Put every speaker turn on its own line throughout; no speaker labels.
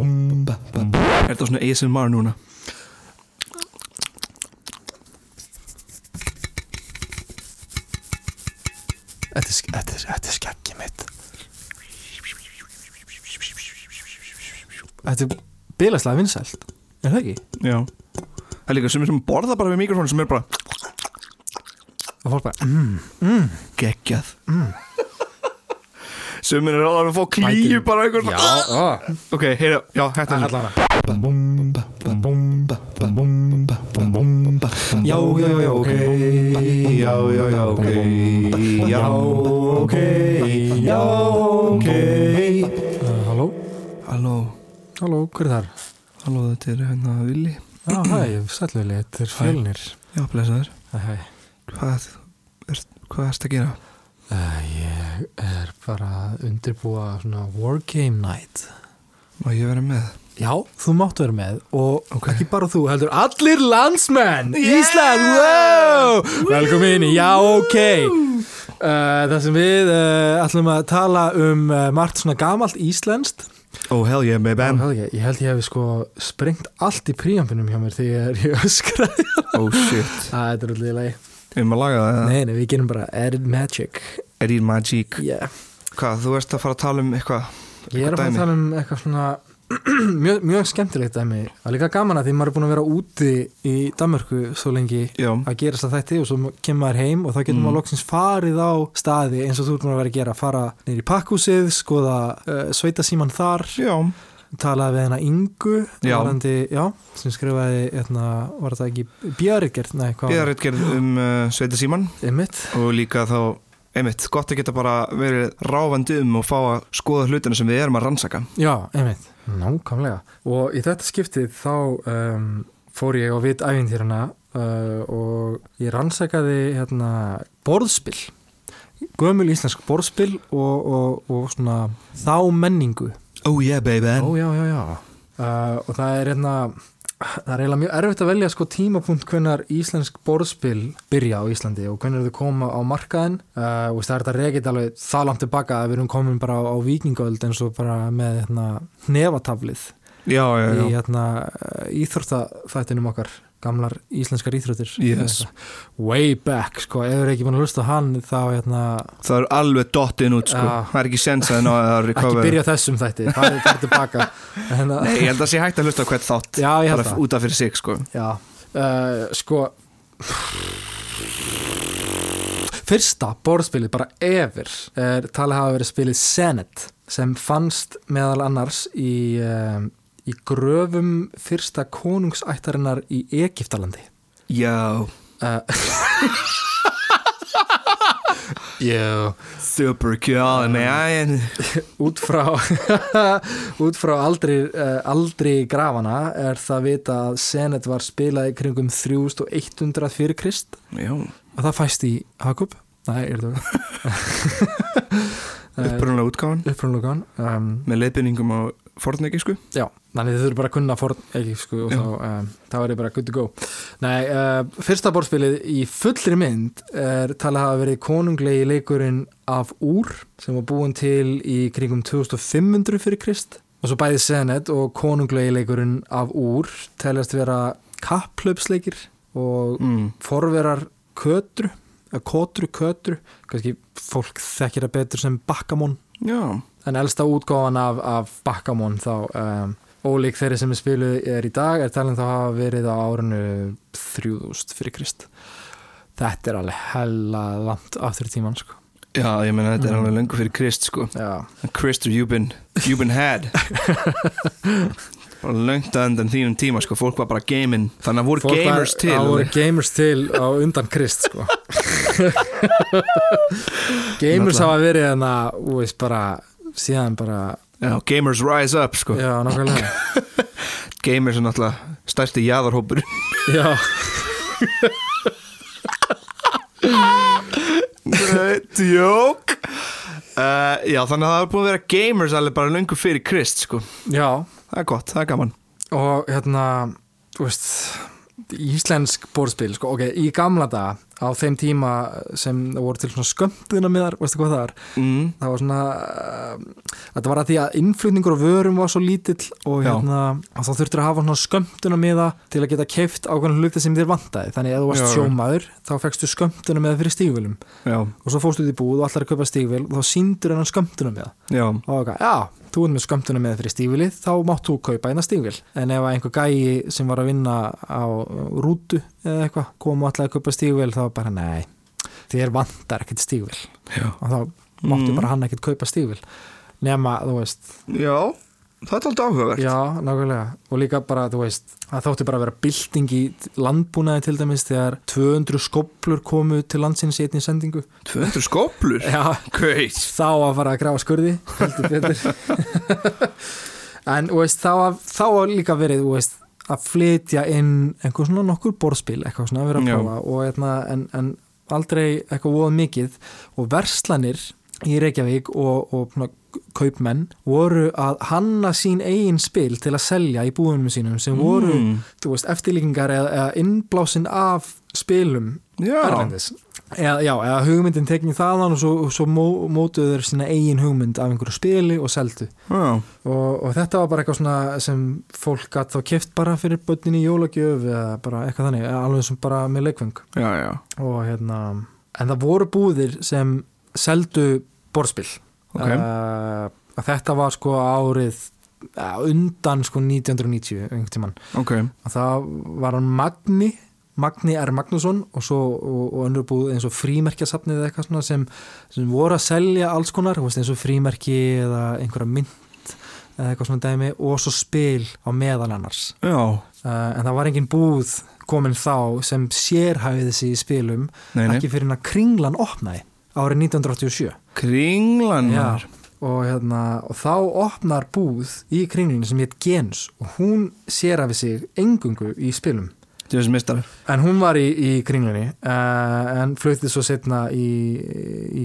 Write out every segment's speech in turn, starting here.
Er þetta svona ASMR núna?
Þetta er, þetta, er, þetta er skeggið mitt Þetta er bilaslega vinsælt Er það ekki?
Já Það er líka sem er sem borða bara við mikrofónu sem er bara
Og fólk bara mm,
geggjað mm. Sumir er alveg að fá klíu
Mætir-
bara einhvern
Já, ó,
Ok, heyra, já, þetta er
allan að Já, já, já, ok Já, já, já, ok Já, ok Já, ok Halló,
Halló,
halló, hver er þar?
halló, þetta er hérna Vili
Já, hæ, sætluvili, þetta er fjölnir
Já, blessaður
Hæ, hæ
Hvað, er, hvað ertu að gera?
Uh, ég er bara að undirbúa svona Wargame Night
Má ég vera með?
Já, þú máttu vera með og
Ok.
ekki bara þú, heldur allir landsmenn
Yeah!
Ísland, wow! Velkomin í Já, ok uh, Það sem við uh, ætlum að tala um uh, margt svona gamalt íslenskt
Oh, hell yeah, baby
Ég held ekki, Ég held ég hefði sko sprengt allt í príampunum hjá mér þegar ég öskraði
Oh, shit
Það er allir í lagi
Við erum að laga það
Nei, nei, við gerum bara added magic
Erin Magic
Yeah
Hvað, þú ert að fara að tala um eitthvað
Ég er að fara að
dæmi?
tala um eitthvað svona mjög, mjög skemmtilegt dæmi Það er líka gaman að því maður er búin að vera úti í Danmörku svo lengi
Já,
að gera þess að þætti og svo kemur maður heim og þá getur maður loksins farið á staði eins og þú ert maður að vera að gera fara neyri í pakkhúsið, skoða uh, sveitasíman þar,
já
tala við hana Ingu
Já.
varandi, já, sem skrifaði hérna, var þetta ekki Bjarritgerð, nei, hvað var
Bíðarrið gerð um uh, Sveita Síman
það? Emmitt
og líka þá einmitt, gott að geta bara verið ráfandi um og fá að skoða hlutina sem við erum að rannsaka
Já, einmitt. Nákvæmlega. Og í þetta skiptið þá um, fór ég á vit æfintýrana uh, og ég rannsakaði hérna, borðspil, gömul íslensk borðspil og, og, og svona þá menningu.
Oh yeah baby
Ó, já, já, já. Uh, og það er hérna, það er eiginlega mjög erfitt að velja sko tímapunkt hvenar íslensk borðspil byrja á Íslandi og hvenar þau koma á markaðin uh, og veist, það er þetta reykit alveg það langt tilbaka að við erum komin bara á, á vikingöld eins og bara með hérna, nefataflið
Já, já,
í
já
hérna, íþórtaþættinum okkar gamlar íslenskar íþróttir
Yes.
way back sko, ef við erum ekki búin að hlusta á hann þá hérna,
Það er alveg dottin út sko
Já.
Það er ekki sens að ná að það er
Ah. ekki
recover
byrja á þessum þætti farið fari tilbaka hérna,
Nei, ég held að sé hægt að hlusta á hvert þátt
já, ég held
bara
það
út af fyrir sig sko
Já, uh, sko Fyrsta borðspilið bara ever er talið hafa verið spilið Senet sem fannst meðal annars í, um, í gröfum fyrsta konungsættarinnar í Egiptalandi
Já,
uh, Já
super cool
Ah.
man
út frá út frá aldri, uh, aldri grafana er það vita að Senet var spilað í kringum 3100 fyrir Krist
Já,
og það fæst í Hakup Nei, er það
upprunalega útgáfan
upprunlugan um,
með leiðbynningum á fornegi sko
Já, þannig þið þurfum bara að kunna forn ekki, sko, og
Já.
þá, um, þá er ég bara good to go Nei, uh, fyrsta borðspilið í fullri mynd er talað að hafa verið konunglegi leikurinn af úr sem var búin til í kringum 2500 fyrir Krist og svo bæði Senet og konunglegi leikurinn af úr teljast vera kapplöpsleikir og
mm.
forverar kötru eða kotru kötru kannski fólk þekkir það betur sem bakkamón
Já,
en elsta útgáfan af, af bakkamón þá um, ólík þeirri sem er spiluð er í dag er talin þá hafa verið á árinu 3000 fyrir krist þetta er alveg hella langt aftur í tíman sko
já, ég meina þetta er
Mm.
alveg löngu fyrir Krist sko
Já.
Krister, you've been, you've been had og löngt að undan þínum tíma sko, fólk var bara gaming þannig að voru
Fólk var-
gamers til
Já, voru gamers til á undan krist sko gamers
Náttúrulega.
hafa verið þannig að þú veist bara síðan bara
já, gamers rise up sko
já nákvæmlega
gamers er náttúrulega stærsti jæðarhópur
já
djók uh, já, þannig að það er búin að vera gamers alveg bara löngu fyrir Krist sko
Já,
það er gott, það er gaman
og hérna, þú veist, íslensk borðspil sko, ok, í gamla daga á þeim tíma sem það voru til svona skömmtuna miðar, veistu hvað það er
mm.
það var svona uh, þetta var að því að innflutningur á vörum var svo lítill og,
Já.
hérna, og þá þurftur að hafa svona skömmtuna miða til að geta keift ákveðan hluti sem þér vantaði þannig að þú varst
Já.
sjómaður þá fegstu skömmtuna miða fyrir stígvölum
Já,
og svo fórstu út í búð og allar að kaupa stígvöl og þá síndur hennan skömmtuna miða
já,
og það, já, þú ert með skömmtuna með fyrir stífilið þá mátt þú kaupa eina stífil en ef einhver gæi sem var að vinna á rútu eða eitthvað kom og alltaf að kaupa stífil þá bara nei þér vantar ekkert stífil
já
og þá máttu
Mm.
bara hann ekkert kaupa stífil nema, þú veist,
Já, það er aldrei áhugavert
já, nákvæmlega og líka bara, þú veist, það þótti bara að vera bylting í landbúnaði til dæmis þegar 200 skoblur komu til landsins í einni sendingu
200 skóplur
já,
Kveit
þá að fara að grafa skurði heldur betur en þú veist, þá, að, þá að líka verið þú veist, að flytja inn einhver svona nokkur borðspil eitthvað svona að vera að
Já.
prófa og, eitna, en, en aldrei eitthvað voða mikið og verslanir í Reykjavík og, og svona, kaupmenn voru að hanna sín eigin spil til að selja í búðunum sínum sem voru
Mm.
þú veist, eftirlíkingar eða, eða innblásin af spilum
Já,
Erlendis eða, Já, eða hugmyndin tekin þaðan og svo, svo mó- mótuðu þeir sína eigin hugmynd af einhverju spili og seldu
já,
og, og þetta var bara eitthvað svona sem fólk gatt þá keft bara fyrir bönnin í jólagjöf eða bara eitthvað þannig, eða alveg sem bara með leikvöng
já, já
og hérna en það voru búðir sem seldu borðspil
Ok.
Eh, að þetta var sko árið eh, undan sko 1990 einhvern tímann
Ok,
að það var hann Magni Magni R. Magnússon og svo og, og önnur búið eins og frímerkjasafnið eða eitthvað svona sem, sem voru að selja alls konar, þú veist, eins og frímerki eða einhverja mynd eða eitthvað svona dæmi og svo spil á meðal annars
já
uh, en það var engin búð komin þá sem sérhæfið þessi í spilum
Nei, nei
ekki fyrir hann að kringlan opnaði árið 1987
Kringlan
Já, og, hérna, og þá opnar búð í kringlunni sem hétt Gens og hún sér af sig engungu í spilum
Þú veist mistar
en hún var í, í kringlunni uh, en flutið svo setna í,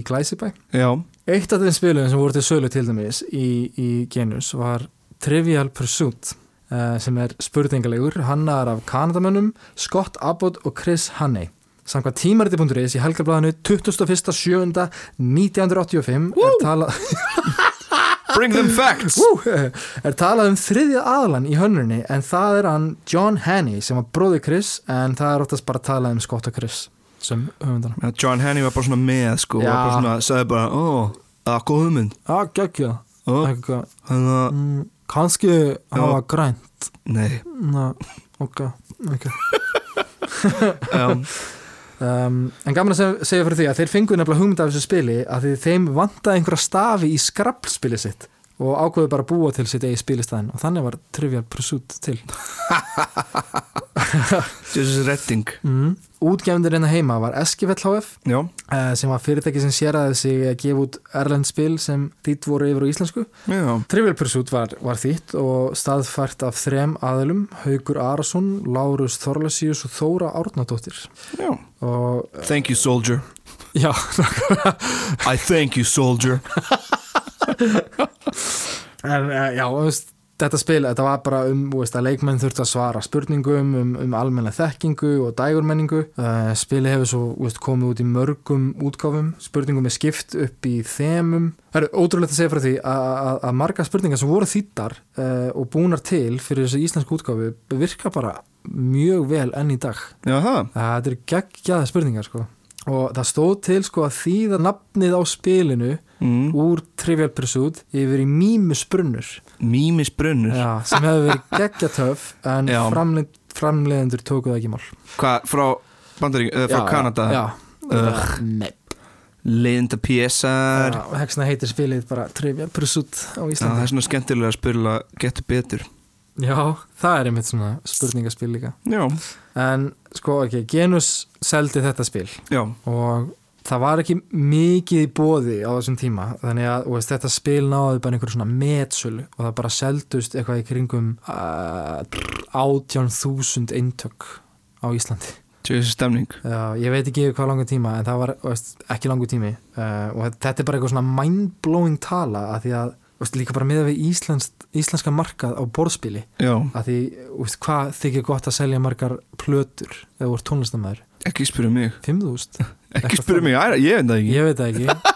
í Glæsibæ
Já,
Eitt af þeim spilum sem voru til sölu til dæmis í, í Genus var Trivial Pursuit uh, sem er spurningalegur, hannar af Kanadamönnum Scott Abbott og Chris Hanney Samkvæmt tímariti.is í helgarblæðinu 21.7.1985 er talað
bring them facts
Ú, er talað um þriðja aðlan í hönnurni en það er hann John Hanney sem var bróði Chris en það er oftast bara talað um Scott og Chris sem höfundana
Já, John Henney var bara svona með sko
Já.
var bara svona, sagði bara, ó, það er góð hugmynd
Já, geggja Mm,
Ó, þannig að,
Kanski hafa grænt
nei
Ná, ok, ok
um,
um, En gaman að seg- segja fyrir því að þeir fengu nefnilega hugmynd af þessu spili að því þeim vantaði einhverja stafi í skrappspili sitt og ákveðu bara að búa til sitt eigi spilistæðin og þannig var Trivial Pursuit til
Jesus Redding
mm. Útgefndir hérna heima var Eskifell HF
Já,
eh, sem var fyrirtæki sem séraði sig að gefa út erlend spil sem þýtt voru yfir á íslensku.
já,
Trivial Pursuit var, var þýtt og staðfært af þrem aðilum, Haugur Arason, Lárus Þorlasius og Þóra Árnadóttir.
já
Og
Thank you soldier
já,
I thank you soldier
en, eh, já þú veist, þetta spil, þetta var bara um þú veist, að leikmenn þurftu að svara spurningum um, um almenna þekkingu og dægurmenningu. Uh, spili hefur svo þú veist, komið út í mörgum útgáfum, spurningum er skipt upp í þemum. Það er ótrúlegt að segja frá því að, að, að marga spurningar sem voru þýttar uh, og búnar til fyrir þessu íslensku útgáfu virka bara mjög vel enn í dag.
Jaha,
Það þetta eru geggjaða spurningar sko. Og það stóð til sko að þýða nafnið á spilinu
mm.
úr Trivial Pursuit yfir í Mímus Brunnur
Mímis brunnur
já, sem hefur verið geggja töf en
Já.
framleind, framleiðendur tóku það ekki í mál
Hvað, frá Bandarík, eða frá
Já,
Kanada
Já,
Ugh.
Nei.
Linda P.S.R.
Já, Heksna heitir spilið bara Trivial Pursuit á
Já, það
Íslandi
er svona skemmtilega að spila getur betur
Já, það er einmitt svona spurningaspil líka
Já,
En sko, ok, Genus seldi þetta spil
já,
og það var ekki mikið í bóði á þessum tíma þannig að þú veist, þetta spil náði bara einhver svona metsölu og það bara seldust eitthvað í kringum uh, 18.000 eintök á Íslandi
tjóðis stemning
uh, ég veit ekki hvað langur tíma Eh, en það var þú veist, ekki langur tími uh, og þetta er bara eitthvað svona mindblowing tala að því að þú veist, líka bara miða við Íslands, íslenska markað á borðspili
já,
að því, veist, hvað þykir gott að selja margar plötur eða voru tónlistamæður?
ekki spyrja mig
5.000?
ekki spyrja mig, æra, ég veit það ekki
Ég veit það ekki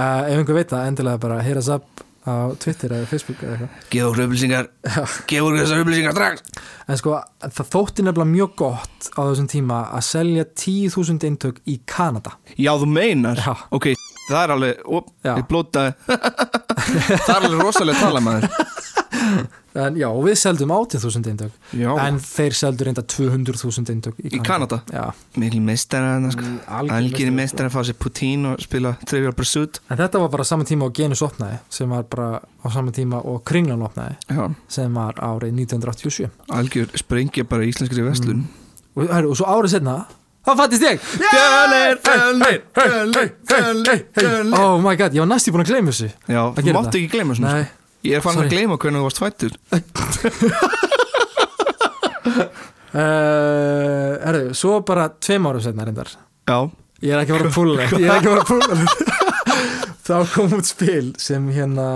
uh, Ef einhver veit það, endilega bara heyra þess upp á Twitter eða Facebook eða eitthvað
gefa okkur upplýsingar, gefa okkur þessar upplýsingar strax
En sko, það þótti nefnilega mjög gott á þessum tíma að selja 10.000 eintök í Kanada
já, þú meinar,
Já.
ok það er alveg, op,
Já.
ég blótaði það er alveg rosalega tala maður
En já, og við seldum 80.000 eintök
já,
En þeir seldu reynda 200.000 eintök í
í Kanada
Já,
mikil meistara, þarna, sko.
algjör
algjör
meistari.
meistara að fá sér Putin og spila Trivial Pursuit
En þetta var bara saman tíma og Genus opnaði sem var bara á saman tíma og Kringlan opnaði
já,
sem var árið 1987
algjör sprengja bara í íslenskri vestlun
og, herru, og svo árið setna þá fattist ég
Fjölnir, fjölnir, fjölnir, fjölnir, fjölnir
Oh my god, ég var næstu búin að gleyma þessu
Já,
Það
þú
gerir
mátt
það.
ekki gleyma svona
Nei,
sko. Ég er fann að
Sorry.
gleyma hvernig þú varst fættur
uh, herru, svo bara tveim árum setna reyndar
Já,
Ég er ekki að vera púlulegt Ég er ekki að vera púlulegt Þá kom út spil sem hérna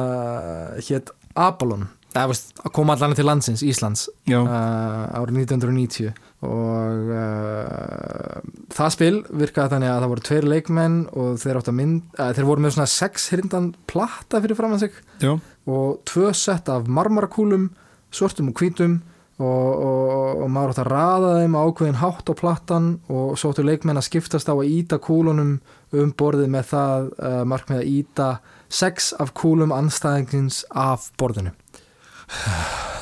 hétt Abalon Það varst að koma allan til landsins, Íslands
já,
uh, árið 1990 og uh, það spil virkaði þannig að það voru tveir leikmenn og þeir, áttu að mynd, uh, þeir voru með svona sex hrindan platta fyrir framann sig
já
og tvö sett af marmarakúlum svörtum og hvítum og, og, og maður átt að raða þeim á ákveðin hátt á plattan og svo áttu leikmenn að skiptast á að íta kúlunum um borðið með það uh, markmið að íta sex af kúlum anstæðingins af borðinu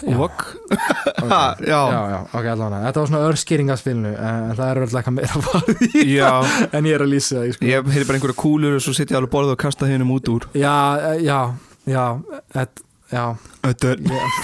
Já.
Vokk,
okay.
já,
Já, já, ok, allavega, þetta var svona örskýring af spilinu en það er öll eitthvað meira farið í
já
en ég er að lýsa það, ég sko
Ég heyrði bara einhverja kúlur og svo sitt ég alveg borðið og kasta hennum út úr
Já, eh, já, já, et, já,
Þetta er,
ég,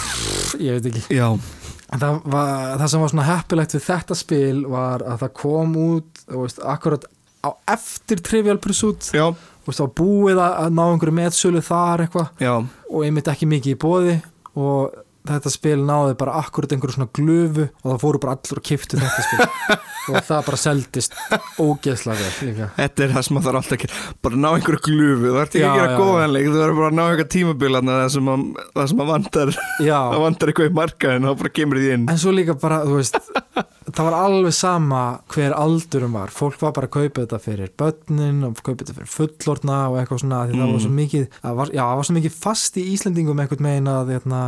ég veit ekki
já,
En það, var, það sem var svona heppilegt við þetta spil var að það kom út, þú veist, akkurat á eftir Trivial Pursuit,
já,
þú veist, það var búið að að ná einhverju metsölu þar eitthvað
já
og einmitt ekki mikið í bóði og þetta spil náði bara akkurat einhverju svona glöfu og það fóru bara allur og kiptu þetta spil og það bara seldist ógeðslega vel líka.
Þetta er það sem maður þarf alltaf að gera Bara ná einhverju glufu, það ert ekki
Já,
að
já,
gera
já.
góðanleik Þú verður bara að ná einhverja tímabilana það sem að, það sem að vantar Það
Já,
vantar eitthvað í markaðin og þá bara kemur því inn
en svo líka bara, þú veist það var alveg sama hver aldurum var fólk var bara að kaupa þetta fyrir börnin og kaupa þetta fyrir fullorna og eitthvað svona því það
Mm.
var svo mikið, það var, já, það var svo mikið fast í Íslendingum einhvern megin að, hérna,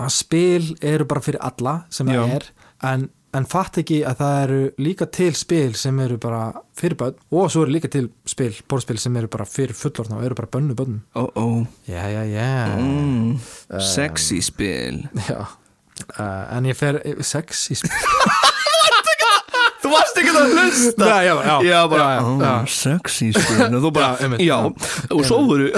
að spil eru bara fyrir alla sem
Já.
það er en, en fatt ekki að það eru líka til spil sem eru bara fyrir börn og svo eru líka til spil, borðspil sem eru bara fyrir fullorna og eru bara bönnu börnum
Ó, ó,
já, já, já
mm, sexy spil
Já, uh, en ég fer sex í spil
Þú varst ekki að hlusta
Nei, já, já.
já, bara,
Já, já,
"Ó,
já."
Sexy spil Og þú
Já,
bara,
einmitt.
já, og svo voru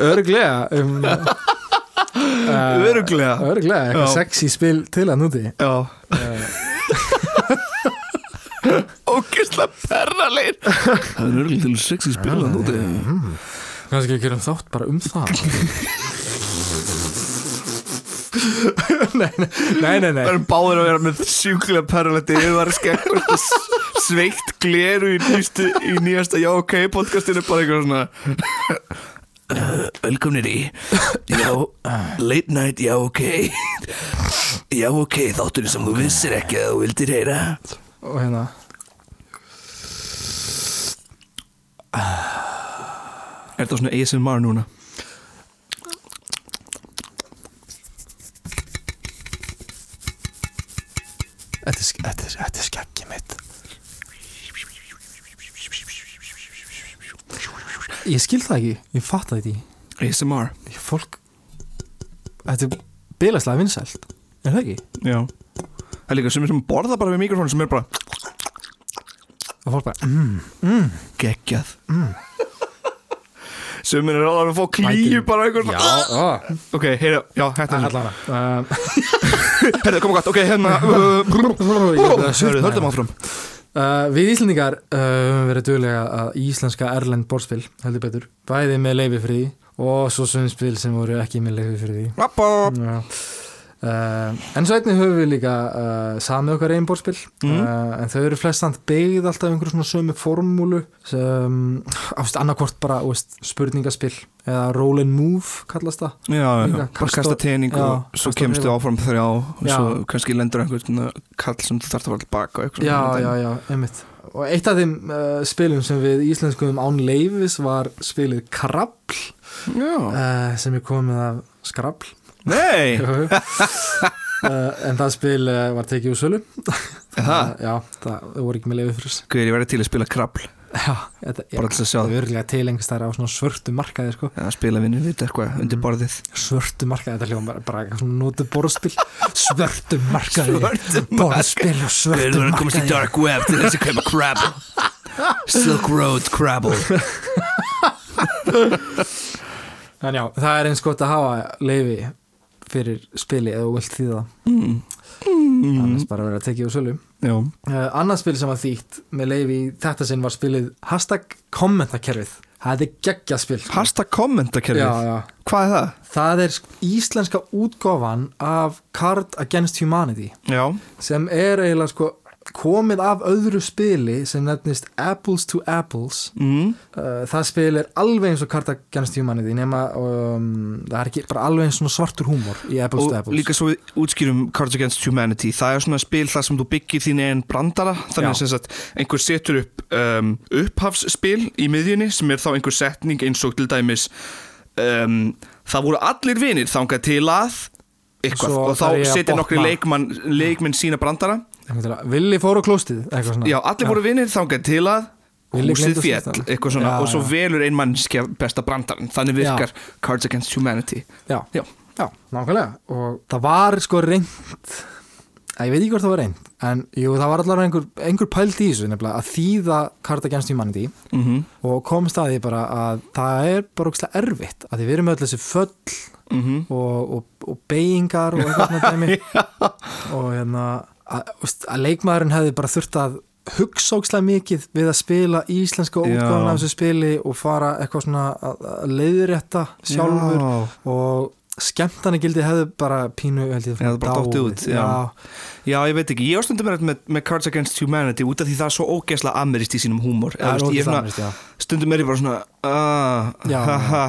Örglega um, uh,
Öruglega
Örglega, eitthvað
Já.
sexy spil til að núti
Já Ógisla perralir Það er öruglega til sexy spil að núti
Eh. Kannski ekki um þátt bara um það Nei, nei, nei, nei,
Það
nei.
erum báðir að vera með sjúklega perraliti Ég var skemmt sveikt gleru í, nýstu, í nýjasta Já ok podcastinu bara eitthvað svona Uh, Velkomnir í Já, late night, já ok Já ok, þátturinn sem þú vissir ekki að þú vildir heyra
Og hérna
Er það svona ASMR núna?
Þetta er, ske- þetta er, þetta er skeggi mitt Ég skil það ekki, ég fatt það ekki
ASMR,
Ég- Fólk Þetta er bilaslega vinsælt Er það ekki?
já Það er líka sem er sem borða bara við mikrofónu sem er bara
Og fólk bara mm,
geggjað Sem er alveg að fá klíu
Mætir.
bara einhvern
Já,
Ok, heyra, já, hættu þessu
allan um,
Herðu, koma gott, ok, hérna uh,
Surt,
Hörðum áfram
Uh, við Íslendingar uh, höfum verið duglega að íslenska erlend borðspil, heldur betur, bæði með leifi fyrir því og svo svömspil sem voru ekki með leifi fyrir því.
Lappa
Já. Uh, en svo einnig höfum við líka uh, samið okkar einbórspil mm. uh, en þau eru flest samt beigð alltaf einhverjum svona sömu formúlu sem, ást, annarkvort bara ást, spurningaspil eða roll and move kallast það
Já, já,
Líka
já, bara
kasta-
kasta tening
já,
og svo
kasta
kemstu
bréfa.
áfram þrjá og
Já.
svo kannski lendur einhvern svona kall sem þú þarf að fara til baka og eitthvað
já,
svona.
já, já, einmitt og eitt af þeim uh, spilum sem við íslenskuðum án leifis var spilið Krabl
Já,
uh, sem er komið af Skrabl
nei,
uh, en það spil uh, var tekið úr sölu
það
uh, já, það voru ekki með leifi fyrir þess
Guður, ég verði til að spila krabl
já, þetta, já,
bara til að sjá
það
það
er örgulega til einhvers þær á svona svörtu markaði sko
eða spila vinnur við eitthvað
Mm.
undir borðið
svörtu markaði, þetta hljóðum bara, bara eitthvað svona notu borðspil svörtu markaði
Svörtu
borðspil og
Guður,
svörtu
verður komast í
markaði
dark web til þess að kaupa krabl Silk Road krabl
en já, það er eins gott að hafa leifi fyrir spili eða þú vilt því það
mm.
annars bara verið að tekið úr sölu
Já,
uh, annað spil sem var þýtt með leifi í þetta sinn var spilið hashtag kommentakerfið það er geggja spil sko.
hashtag kommentakerfið
já, já.
Hvað er það?
það er sk- íslenska útgofan af Card Against Humanity
Já,
sem er eiginlega sko komið af öðru spili sem nefnist Apples to Apples
mm.
uh, það spil er alveg eins og karta gennst tímanniði nema um, það er ekki bara alveg eins svona svartur húmor í Apples to
og
Apples
líka svo við útskýrum Cards Against Humanity það er svona spil þar sem þú byggir þín einn brandara
Já.
þannig sem sagt einhver setur upp um, upphafsspil í miðjunni sem er þá einhver setning eins og til dæmis um, það voru allir vinir þangað til að eitthvað
Svo
og þá
þarf ég að
setir nokkri
botna.
leikmann, leikmenn sína brandara
Einhvern veginn, Villi fór á klóstið eitthvað svona
já, allir voru vinir þangað til að
Við líka
húsið
gleymdum
fjall,
síðasta.
eitthvað svona
Já,
og svo
já.
velur ein mannskja besta brandaran þannig
Já.
virkar Cards Against Humanity
já,
já,
já, nákvæmlega og það var sko reynd að ég veit ekki hvort það var reynd en jú, það var allavega einhver, einhver pælt í þessu nefnilega að þýða karta gennst tímanniði
mhm mm
og komst að því bara að það er bara ógstlega erfitt að því við erum öll þessi föll
mhm.
og, og, og beigingar og eitthvað svona dæmi og hérna að, veist, að leikmaðurinn hefði bara þurft að hugsa ógstlega mikið við að spila íslenska
Já.
útgáðan af þessu spili og fara eitthvað svona að, að leiðrétta sjálfur
Já.
og skemmtanagildi hefði bara pínu held ég,
Já, það bara dottið út, já.
já,
Já, ég veit ekki, ég á stundum með, með, með Cards Against Humanity út af því það er svo ógeðslega amerist í sínum húmor
það er
veist, ég
ógstlega
svona-
annars, já.
Stundum er ég bara svona ah,
Já,
ha, ha,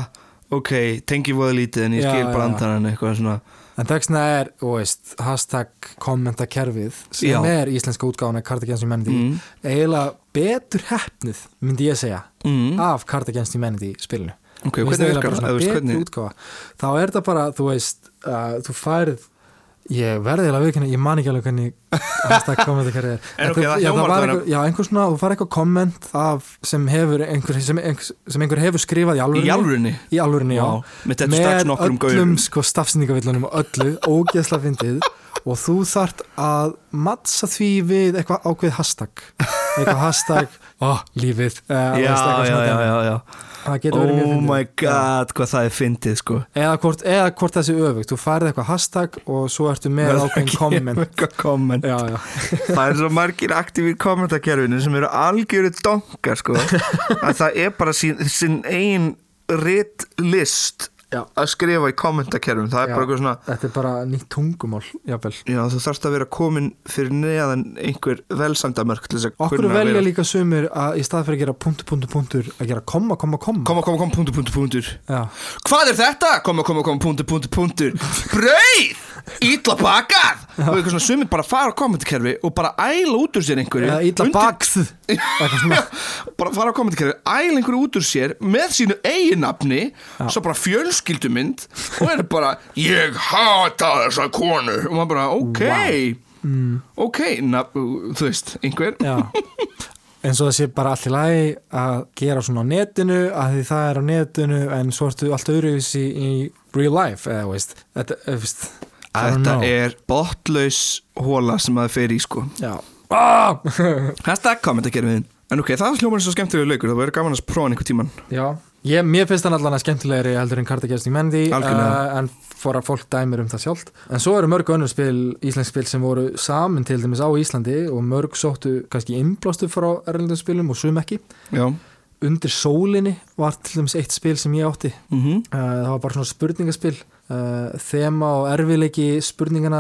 Ok, tengi voða lítið en ég
Já,
skil
já.
brandarann eitthvað svona
En textina er, þú veist, hashtag kommentakerfið sem
Já.
er íslenska útgáðan af Cardigans Humanity
Mm.
eiginlega betur hefnið, myndi ég segja,
mm,
af Cardigans Humanity spilinu. Ah,
Ok,
Mér finnst
hvernig
það eiginlega bara
virkar það?
svona
Eða, veist,
betri
Hvernig,
útgáfa. Þá er það bara, þú veist, uh, þú færð Ég verði eiginlega viðkynna, ég man ekki alveg hvernig hashtag kommentakerfið er.
En ok,
þú-
það
já,
hljómar
var
allavega.
einhver, Já, einhver svona, þú færð eitthvað komment af sem hefur einhver, sem, einhver, sem einhver hefur skrifað í
í
alvörinni.
jálfurinni
Í alvörinni, já
Með þetta strax
öllum
nokkrum gaurum
sko stafsendingavillunum og öllu ógeðsla fyndið og þú þart að mattsa því við eitthvað ákveð hashtag eitthvað hashtag, ó, lífið uh,
Já, já, já, já, já
það getur verið mjög
Oh
fyndið
my god, hvað það er fyndið sko
eða hvort, eða hvort þessi öfugt, þú færð eitthvað hashtag og svo ertu með
Verður
ákveðin
ekki-
komment
Eitthvað komment
já, já,
Það er svo margir aktífir kommentarkerfinu sem eru algjöru donkar sko að það er bara sín, sín ein rétt list
Já.
að skrifa í kommentarkerfinu það er
Já.
bara eitthvað svona
þetta er bara nýtt tungumál jafnvel
Já, þú þarfst að vera komin fyrir neðan einhver velsamdamörk til þess að
okkur
kunna að
velja
vera-
líka sumir að í stað fyrir að gera punktu, punktu, punktur að gera komma, komma, komma
Koma, koma, koma, punktur, punktur, punktur
já,
Hvað er þetta? Koma, koma, koma, punktur, punktur, punktur Brauð! Ítla bakað! Og eitthvað svona sumir bara fara á kommentarkerfi og bara æla út úr sér einhverju
eða illa
undir-
bakð eitthvað svona
Já, bara fara á kommentarkerfi æla einhverju út úr sér með sínu eiginnafni svo bara fjölskyldumynd og er bara ég hata þessa konu og maður bara ok Mm. ok, na, þú veist, einhver
Já, eins og það sé bara allt í lagi að gera svona á netinu að því það er á netinu en svo ertu allt öðruvísi í real life eða veist, þetta, eða, veist I don't
Þetta
know.
er botlaus hóla sem maður fer í sko
Já ah!
Hashtag kommentarkerfiðin En ok, það hljómar eins og skemmtilegu leikur Það verður gaman að prófa hann einhver tíman
Já, ég, mér finnst hann allan að skemmtilegri heldur en kartakjæsting mendi
Algjörlega.
uh, en fór að fólk dæmir um það sjálft en svo eru mörg önnur spil, íslensk spil sem voru saman til dæmis á Íslandi og mörg sóttu kannski innblástu frá erlendum spilum og sum ekki
Já
undir sólinni var til dæmis eitt spil sem ég átti
mm
Uh, það var bara svona spurningaspil uh, þema og erfileiki spurningana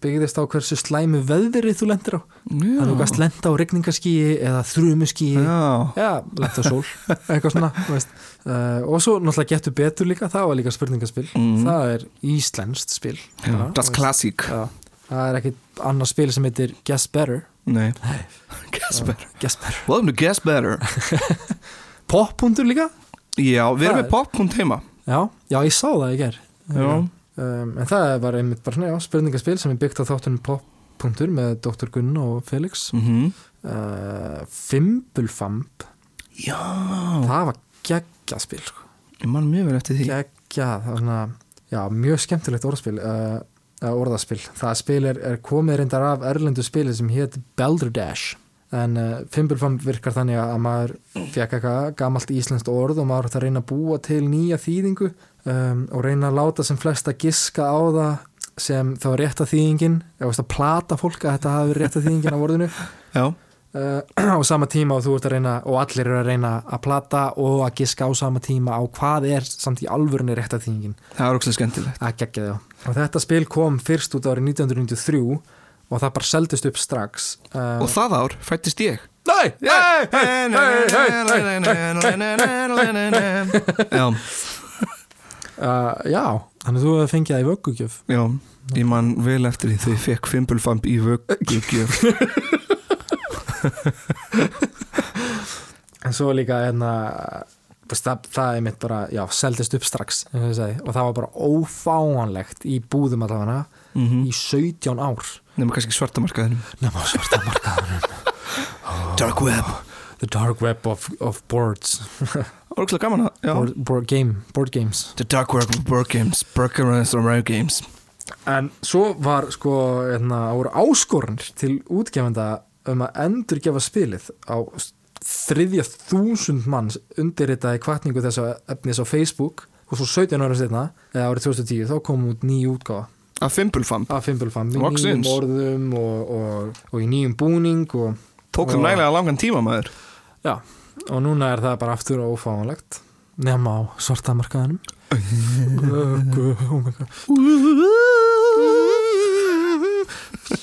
byggðist á hversu slæmu veðrið þú lendir á þannig þú gast lenda á regningaskíi eða þrumuskíi
Já,
Já, lent á sól, eitthvað svona þú veist. uh, og svo náttúrulega getur betur líka það var líka spurningaspil,
Mhm.
það er íslenskt spil bara,
das
þú veist.
klassík
Já. það er ekkit annað spil sem heitir Guess Better
Nei, guess better
Guess Better
Welcome to guess better
Poppundur líka?
Já,
Það
við erum
er-
með poppunt heima
Já, já ég sá það í ger
Já,
um, en það var einmitt bara svona, já, spurningaspil sem er byggt á þáttunum poppundur með Dr. Gunn og Felix mm.
Mhm.
uh, Fimbulfamb
Já
það var geggjaspil sko.
ég man mjög vel eftir því
geggjað, það var svona já, mjög skemmtilegt orðspil uh, eða orðaspil, það spil er, er komið reyndar af erlendu spili sem hétt Belderdash en uh, Fimbulfamb virkar þannig að maður fekk eitthvað gamalt íslenskt orð og maður átti að reyna að búa til nýja þýðingu um, og reyna að láta sem flesta giska á það sem þá er rétta þýðingin eða veist að plata fólk að þetta hafi verið rétta þýðingin á orðinu
Já,
uh, á sama tíma og þú ert að reyna og allir eru að reyna að plata og að giska á sama tíma á hvað er samt í alvörunni rétta þýðingin
það er ókslega skemmtilegt
að gegja þjá og þetta spil kom fyrst út árið 1993 og það bara seldist upp strax uh,
Og það ár fættist ég
Nei,
Já
uh, Já, þannig að þú hefði fengið það í vöggugjöf
Já, ég man vel eftir því þegar ég fekk fimbulfamb í vöggugjöf
En svo líka hérna þú veist, það, það er mitt bara, já, seldist upp strax eins og ég sagði. og það var bara ófáanlegt í búðum allavega
Nefnum
í 17 ár
Mhm. kannski svartamarkaðinum
nema á svarta markaðunum
Dark Web
The dark web of, of boards
Ókslega gaman að já.
board, board, game, board games
The Dark Web of Board Games Burger Runners and Rare Games
En svo var sko hérna, voru áskorunir til útgefenda um að endurgefa spilið á s- þriðja þúsund manns undirritaði kvartningu þessa efnis á Facebook og svo 17 ára setna, eða árið 2010, þá kom út ný útgáfa
Að fimbulfamb
af Fimbulfam, í nýjum
Loksins.
orðum og, og, og í nýjum búning og,
Tók þeim
Já.
nægilega langan tíma maður
já, og núna er það bara aftur ófáanlegt nema á svartamarkaðanum Oh my god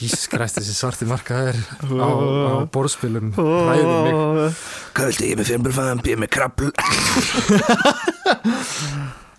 Ískræst þessi svarti markaður á, á
Oh.
borðspilum ræður mig
Kvöldi ég er með fimbulfamb, ég er með krabbl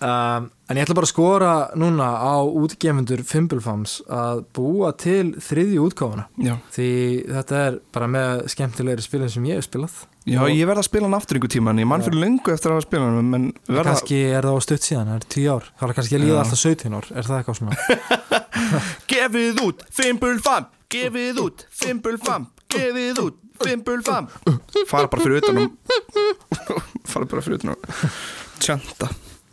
um, En ég ætla bara að skora núna á útgefundur Fimbulfams að búa til þriðju útgáfuna
Já,
því þetta er bara með skemmtilegri spilum sem ég hef spilað
já ég verð að spila hann aftur ykkur tíman Ég man fyrir löngu eftir að hafa spila hann En verða
Kanski er það á stutt síðan, það er tíu ár Það er kannski að líða
Já.
alltaf 17 ár, er það eitthvað svona
Gefið út, fimbulfamb Gefið út, fimbulfamb Gefið út, fimbulfamb Fara bara fyrir utanum Fara bara fyrir utanum Tjanta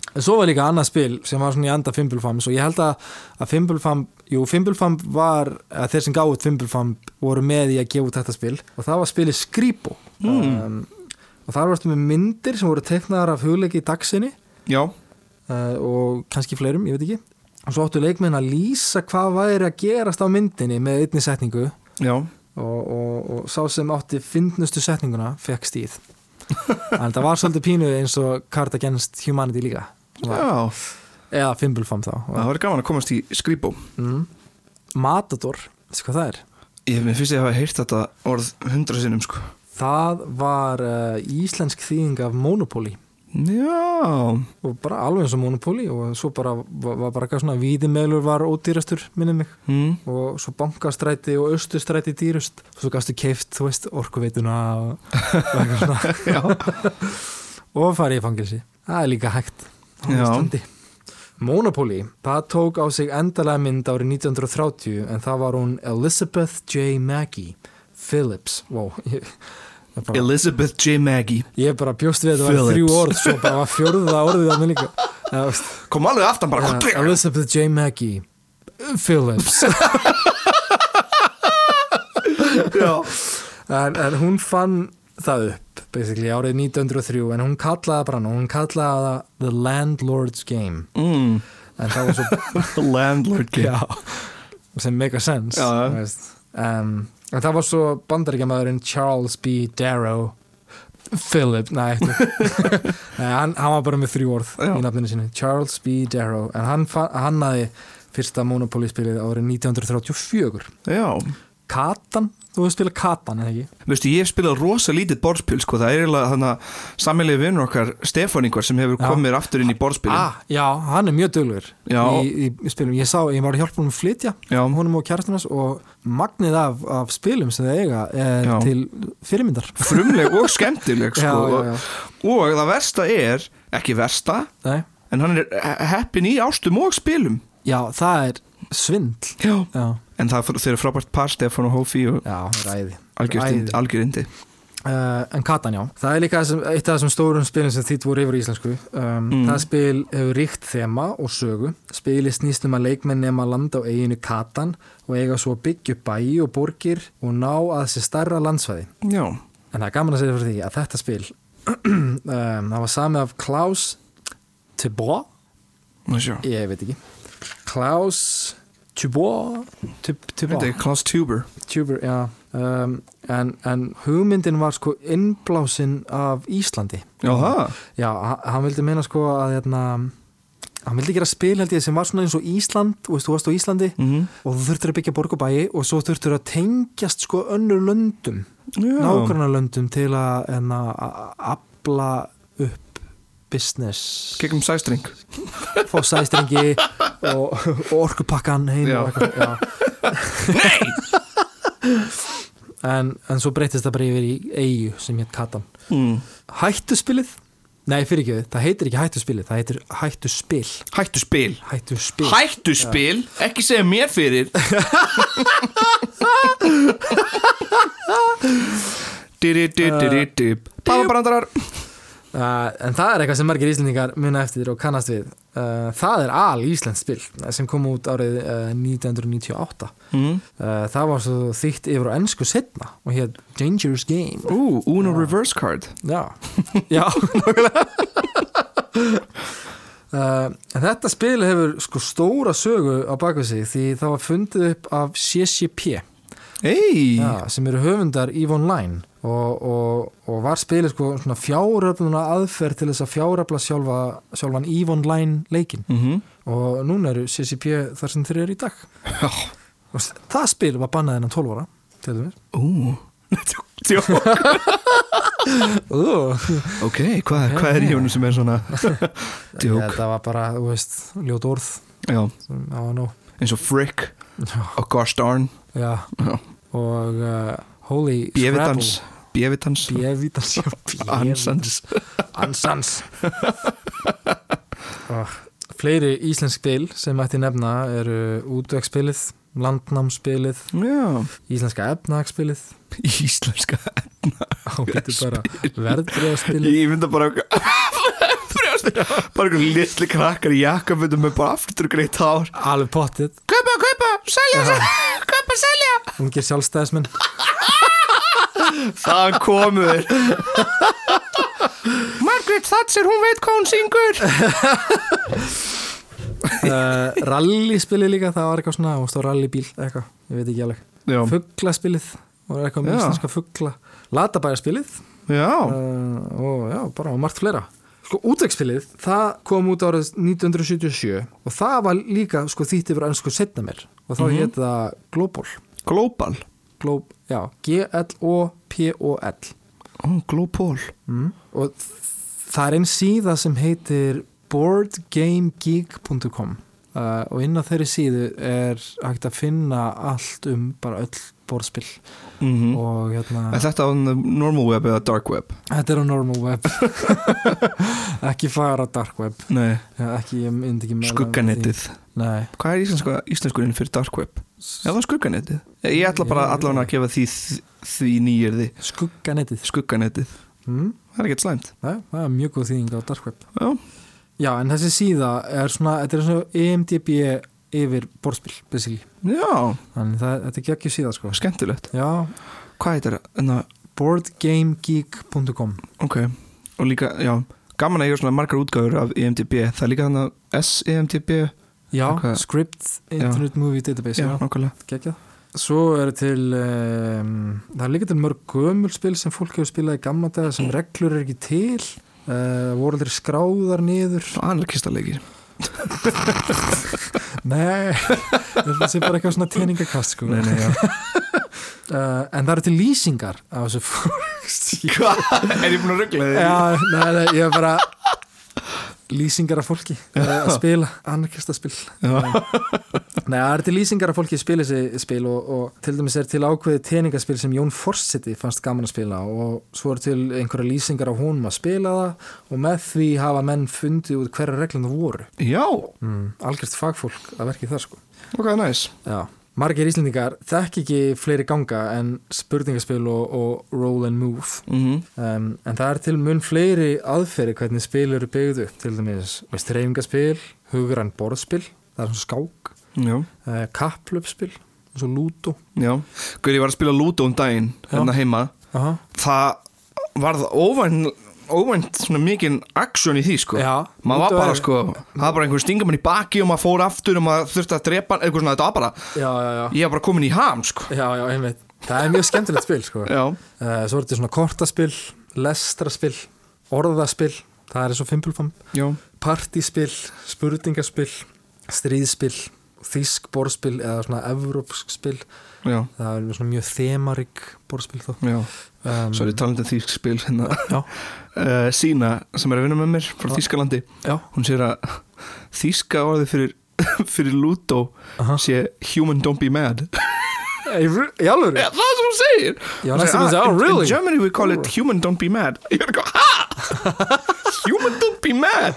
En svo var líka annað spil sem var svona í anda Fimbulfams og ég held að, að Fimbulfamb, jú Fimbulfamb var, að þeir sem gáðu Fimbulfamb voru með í að gefa út þetta spil og það var spilið Skrýpo um, og þar varstu með myndir sem voru teiknaðar af hugleiki í dagsinni
Já,
uh, og kannski fleirum, ég veit ekki og svo áttu leikmenn að lýsa hvað væri að gerast á myndinni með einni setningu og,
já
og, og sá sem átti fyndnustu setninguna fekk stíð en það var svolítið pínu eins og Card Against Humanity líka sem var-
Já,
eða Fimbulfamb þá
það var gaman að komast í skrýbó
mm. Matador, veistu hvað það er?
Ég mér finnst ég að hafa heyrt þetta orð hundra sinnum sko
Það var uh, íslensk þýðing af Monopoly
Já,
og bara alveg eins og Monopoly og svo bara var, var bara eitthvað svona víðimeglur var ódýrastur, minnum mig
hm.
og svo bankastræti og austustræti dýrust og svo gafstu keift, þú veist, orkuveituna og, og eitthvað svona
já.
og farið í fangilsi það er líka hægt á
Já.
Íslandi. Monopoly, það tók á sig endalega mynd árið 1930 en það var hún Elizabeth J. Maggie Phillips wow, ég, það er bara,
Elizabeth J. Maggie
ég bara bjóst við að það var
Phillips.
þrjú orð svo bara var fjórða orðið að mig líka Eða, veist,
Kom alveg aftan bara
Eh, Elizabeth J. Maggie Phillips
Já,
en, en hún fann það upp basically árið 1903 en hún kallaði bara nú, hún kallaði það The Landlord's Game
mm.
en það var svo
The Landlord Game
já, sem make a sense
Já, já.
þú veist. um, en það var svo bandaríkjamaðurinn Charles B. Darrow Philip, nei, ekki. nei hann, hann var bara með þrjú orð
Já.
í nafninu sinni, Charles B. Darrow en hann fa- hannaði fyrsta Monopoly spilið árið 1934
Já,
Katan, þú hefur spilað Katan eða ekki?
veistu, ég hef spilað rosa lítið borðspil, sko, það er eiginlega þannig að sammeilið vinnur okkar Stefán yngvar sem hefur
Já.
komið mér aftur inn í borðspilin.
Ah, já, hann er mjög döglegur
Já.
í, í spilum, ég sá, ég var að hjálpa honum að flytja
Já,
honum og kjærastunars og magnið af, af spilum sem þau eiga er
Já.
til fyrirmyndar
frumleg og skemmtileg, sko.
já, já, já.
Og það versta er, ekki versta,
Nei.
en hann er heppin í ástum og spilum.
já, það er svindl
Já.
Já,
En það þeir eru frábært par, Stefán og Hófi og
já ræði
algjört
Ræði.
indi- algjör indi.
Uh, en Katan, já. Það er líka þessum, eitt af þessum stórum spilum sem þýtt voru yfir í íslensku. Um,
Mm.
Það spil hefur ríkt þema og sögu. Spili snýst um að leikmenn nema land á eiginu Katan og eiga svo að byggja upp bæi og borgir og ná að sér starra landsvæði.
Já,
En það er gaman að segja fyrir því að þetta spil, um, það var samið af Klaus Tibor,
það sjá.
ég veit ekki, Klaus Tibor, Tib- Tibor,
Þetta er Klaus Tuber.
Tuber, já um, en, en hugmyndin var sko innblásin af Íslandi
Já, það.
Já, ha- hann vildi meina sko að hérna, hann vildi gera spil held ég sem var svona eins og Ísland og veist, þú varst á Íslandi
Mhm.
og þú þurftur að byggja borgubæi og svo þurftur að tengjast sko önnur löndum
Já.
nákvæmna löndum til að hérna, a- afla upp business
Kekkum sæstring.
fá sæstringi og, og orkupakkan heim
Já.
og eitthvað já. en, en svo breytist það bara yfir í eigu sem hétt Katan
Mm.
Hættuspilið? Nei, fyrir ekki, það heitir ekki hættuspilið það heitir hættuspil
Hættu spil.
Hættuspil
Hættu spil, ekki segja mér fyrir Diri, diri, diri, diri Bábrandarar
Uh, en það er eitthvað sem margir íslendingar muna eftir og kannast við. Uh, það er al íslensk spil eh, sem kom út árið uh, 1998.
mm.
Uh, það var svo þýtt yfir á ennsku setna og hétt Dangerous Game.
Ú, Uno reverse card
Já, já, nokkulega Uh, en þetta spil hefur sko stóra sögu á bakvið sig því það var fundið upp af CCP
Ey,
ja, sem eru höfundar EVE Online og, og, og var spilið sko svona fjáröfnuna aðferð til þess að fjáröfla sjálfa, sjálfan EVE Online leikin
Mhm.
og núna eru CCP þar sem þeir eru í dag
Já.
og s- það spil var bannað innan 12 ára til þess
Ú Jó,
uh,
ok, hvað hva er í hjónum sem er svona Djók
þetta var bara, þú veist, ljót orð mm,
Já,
sem á að nóg
eins og Frick og gosh darn
Já,
Já.
og uh, Holy
Bjevitans Bjevitans
Bjevitans já, Bjevitans.
Ansans
Ansans oh, Fleiri íslensk spil sem ætti nefna eru útvegspilið, landnámspilið
Já,
íslenska efnahagsspilið
íslenska
og býttu bara verðbreðaspilið
Ég mynda bara Frjóðsbyrja Bara einhver litli krakkar í jakkafötum með bara aftur greitt hár
alveg pottið,
Kaupa, kaupa, selja, selja Kaupa, selja
ungir sjálfstæðismenn
Það komu þeir Margaret Thatcher, hún veit hvað hún syngur
uh, rallyspilið líka, það var eitthvað svona og stóð rallybíl, eitthvað, ég veit ekki alveg
Já,
fugglaspilið, og eitthvað með
Já.
íslenska fuggla latabæjarspilið
já,
uh, og já, bara og margt fleira sko útvegspilið, það kom út árið 1977 og það var líka sko þýtt yfir ennsku setna mér og þá mm -hmm. það Global
global
Glob, já, G-L-O-P-O-L
Ó, global
mm. og þ- það er einn síða sem heitir boardgamegeek.com uh, og inn á þeirri síðu er hægt að finna allt um bara öll borðspil
mm
og hérna
Er þetta on the normal web eða dark web?
Þetta er á normal web Ekki fara á dark web
Nei,
Já, Ekki, ég myndi ekki mæla með
skugganettið
því. Nei
Hvað er íslenska, íslenskurinn fyrir dark web? Já, það er skugganettið Ég ætla bara allan að gefa því, því nýjörði
Skugganettið
Skugganettið,
sko. mm?
það er ekkert slæmt
Nei, það er mjög góð þýðing á dark web
Já,
Já, en þessi síða er svona Þetta er E svona EMDB yfir borðspil basically.
já,
Þannig það, þetta er geggjur síða sko
skemmtilegt
Já,
Hvað heitir það? Ná,
boardgamegeek.com
Ok, og líka, já Gaman að ég er svona margar útgáfur af E EMDB Það er líka E þannig að SEMDB
Já,
Hvað-
script internet movie database
Já,
Já,
nákvæmlega
geggjað Svo er til um, það er líka til mörg gömulspil sem fólk hefur spilað í gamla daga sem reglur er ekki til uh, voru aldrei skráðar niður
Anarkistaleikir
Nei, þetta sé bara eitthvað svona tjeningakast sko
Nei, nei, já
Uh, en það eru til lýsingar á þessu fólk
Hvað? Er ég búin að ruggla þig?
Já, nei, nei, ég er bara lýsingar af fólki uh, að spila, anarkista spil Nei, það eru til lýsingar af fólki að spila þessi spil og, og til dæmis er til ákveðið teningaspil sem Jón Forseti fannst gaman að spila og svo eru til einhverja lýsingar af honum að spila það og með því hafa menn fundið út hverja reglum það voru
Já,
mm. algjörst fagfólk að verki það sko
ok, næs
Já, margir Íslendingar þekk ekki fleiri ganga en spurningaspil og, og roll and move
mm
um, en það er til mun fleiri aðferði hvernig spil eru byggðu til dæmis veist reyfingaspil, hugrann borðspil það er svona skák,
Já,
uh, kapplöpspil eins og lútu
já Guður, ég var að spila Ludo um daginn Hérna heima
Aha.
Það varð óvænt óvænt svona mikinn aksjón í því sko
Já.
maður var
Lúdó
bara
er-
sko það var bara einhver stingamann í baki og maður fór aftur og maður þurfti að drepa hann, eitthvað svona þetta var bara
já, já, já,
ég var bara komin í ham sko
já, já, einmitt það er mjög skemmtilegt spil sko. uh,
já,
svo er þetta svona kortaspil, lestraspil orðaspil, það er eins og fimpulfam
já,
partíspil, spurningaspil stríðspil, þýsk borðspil eða svona evrópsk spil
já,
það er svona mjög þemarik borðspil þó
já.
um,
Sorry, talandi um þýsk spil hérna.
já,
uh, Sína sem er að vinna með mér frá Þýskalandi
já,
hún sér að Þýska orðið fyrir, fyrir Ludo
aha
sé human don't be mad
Í alvöru?
Já, það er sem hún segir
Já,
Hún
næstum
segir,
þessi,
"Ah,
oh,
in-
really?"
In Germany we call it human don't be mad Ég er eitthvað, ha? human don't be mad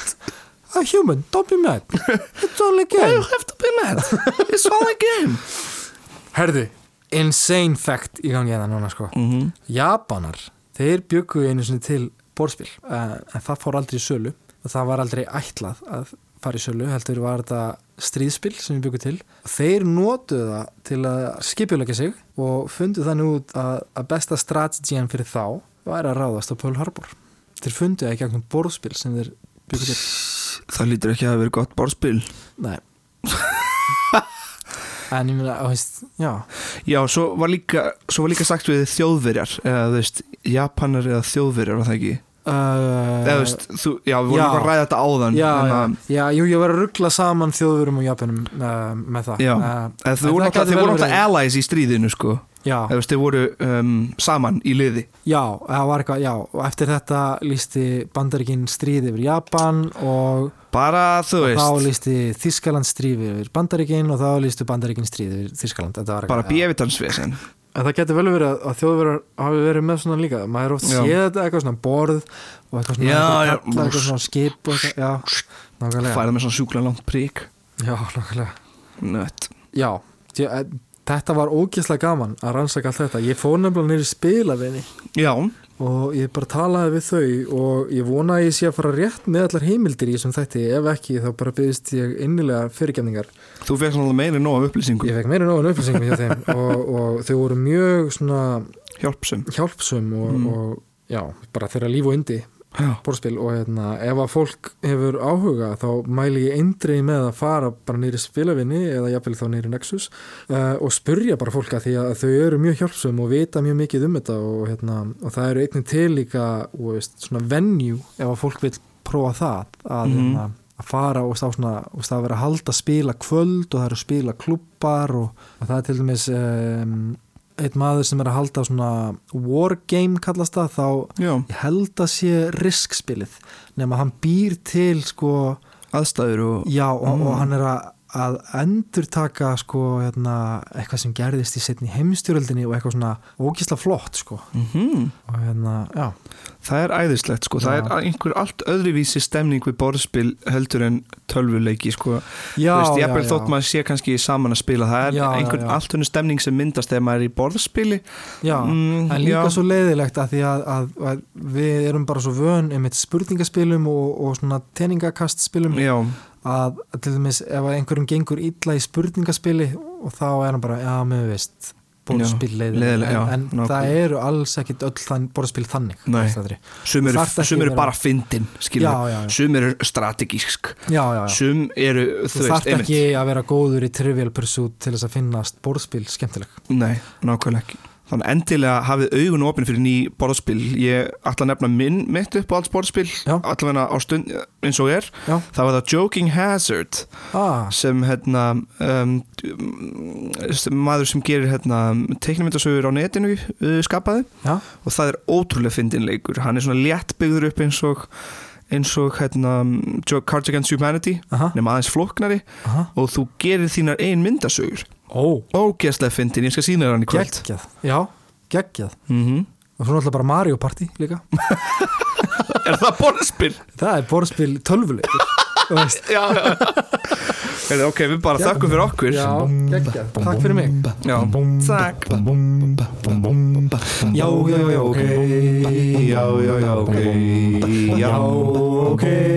A human, don't be mad It's only
You
game
have to be mad It's all a game
Herðu, insane fact í gangi hérna núna sko
mm -hmm.
Japanar, þeir byggu einu sinni til borðspil uh, en það fór aldrei í sölu og það var aldrei ætlað að fara í sölu heldur var þetta stríðspil sem við byggu til þeir notuðu það til að skipjuleika sig og fundu þannig út að, að besta strategian fyrir þá væri að ráðast á Pearl Harbor þeir fundu það í gegnum borðspil sem þeir byggu til
Það lítur ekki að vera gott borðspil
Nei En ég meina, þú veist, já
Já, svo var líka, svo var líka sagt við þjóðverjar eða þú veist, Japanar eða þjóðverjar var það ekki
uh,
eða þú veist, þú, já, við vorum
já.
eitthvað að ræða þetta áðan
já,
en ehm,
já,
að-
já, jú, ég var að ruggla saman þjóðurum og japanum uh, með það
Já.
uh,
eða
En
þú voru
það
náttúrulega,
gæti
þeir
vel
voru náttúrulega
verið.
allies í stríðinu sko,
já,
eða þú veist, þeir voru um, saman í liði
já, það var eitthvað, já og eftir þetta lísti bandaríkin stríði yfir Japan og
bara, þú
þá
veist,
lísti Þískaland stríði yfir bandaríkin og þá lísti bandaríkin stríði yfir Þískaland Þetta var
bara
eitthvað, já.
bjevitansvesen
En það getur vel verið að- að þjóðverðar hafi verið með svona líka maður er oft
Já.
séð þetta eitthvað svona borð og eitthvað svona,
Já,
einhverjir
já.
kallar, eitthvað svona skip og eitthvað, já, nákvæmlega
færið með svona sjúkla langt prík
Já, nákvæmlega
nött,
Já, ég, eh, þetta var ógeðslega gaman að rannsaka allt þetta Ég fór nefnilega niður í spilavinni
já,
og ég bara talaði við þau og ég vona að ég sé að fara rétt með allar heimildir í þessum þætti Ef ekki, þá bara byggðist ég innilega fyrirgefningar
þú fekst náttúrulega meira en nóg af upplýsingum
Ég fekk meira nóðan upplýsingum hjá þeim og, og þau voru mjög svona
hjálpsum
hjálpsum og,
Mm.
og já, bara þeirra líf og yndi
já,
borðspil og hérna, ef að fólk hefur áhuga þá mæli ég eindrei með að fara bara nýri spilavinni eða jafnvel þá nýri Nexus uh, og spurja bara fólka því að þau eru mjög hjálpsum og vita mjög mikið um þetta og, hérna, og það eru einnig til líka og, veist, svona venue ef að fólk vil prófa það að,
Mhm.
hérna, að fara og stá svona og stá að vera að halda spila kvöld og það eru spila klubbar og, og það er til dæmis um, einn maður sem er að halda svona wargame kallast það þá
já,
ég held að sé riskspilið nema hann býr til sko
aðstæður og
já og,
Mm.
og hann er að, að endurtaka sko hérna, eitthvað sem gerðist í setni heimstjóröldinni og eitthvað svona ógisla flott sko
mm
og hérna, já,
það er æðislegt sko, það
Já.
er einhver allt öðruvísi stemning við borðspil heldur en tölvuleiki sko
já,
Þú veist,
já,
jafnvel
já.
þótt maður sé kannski saman að spila það er
Já, já,
einhvern
já.
allt hennu stemning sem myndast þegar maður er í borðspili
já.
Mm,
en líka
já.
svo leiðilegt að því að, að, að við erum bara svo vön einmitt spurningaspilum og, og svona teningakastspilum
já,
að til dæmis ef að einhverjum gengur illa í spurningaspili og þá er hann bara, já, mér veist borðspil
Já,
leiðileg
leiðileg,
en,
já,
en það
nákvæmlega.
eru alls ekkit öll þann, borðspil þannig
Nei.
fyrst aðri.
Sum
Þú
eru,
þarft ekki
sum eru
vera-
bara fyndin
Já, já, já.
Sum eru strategísk
já, já, já.
Sum eru, þú
þú
veist,
þarft
einmitt
ekki að vera góður í Trivial Pursuit til þess að finnast borðspil skemmtileg
Nei, nákvæmlega ekki Þannig endilega hafið augun opinn fyrir ný borðspil Ég ætla að nefna minn mitt upp á alls borðspil
Já.
Allavega á stund eins og er
Já.
Það var það Joking Hazard
ah,
sem hérna um, sem maður sem gerir hérna, teiknumyndasögur á netinu uh, skapaði
já,
og það er ótrúlega fyndinleikur hann er svona léttbyggður upp eins og eins og hérna um, Jo- Cards Against Humanity
aha,
nema aðeins flóknari
aha
og þú gerir þínar ein myndasögur
ó,
ógeðslega fyndin, ég skal sína þér hann í kvöld
geggjað já, geggjað
mm
og svo náttúrulega bara Mario Party líka
Er það borðspil?
það er borðspil tölvuleikur þú veist
já, já Heyrðu, Ok, við bara þakkum fyrir okkur
Já, geggjað. Takk fyrir mig.
Já. Takk Já, já, já, ok Já, já, já, ok Já, ok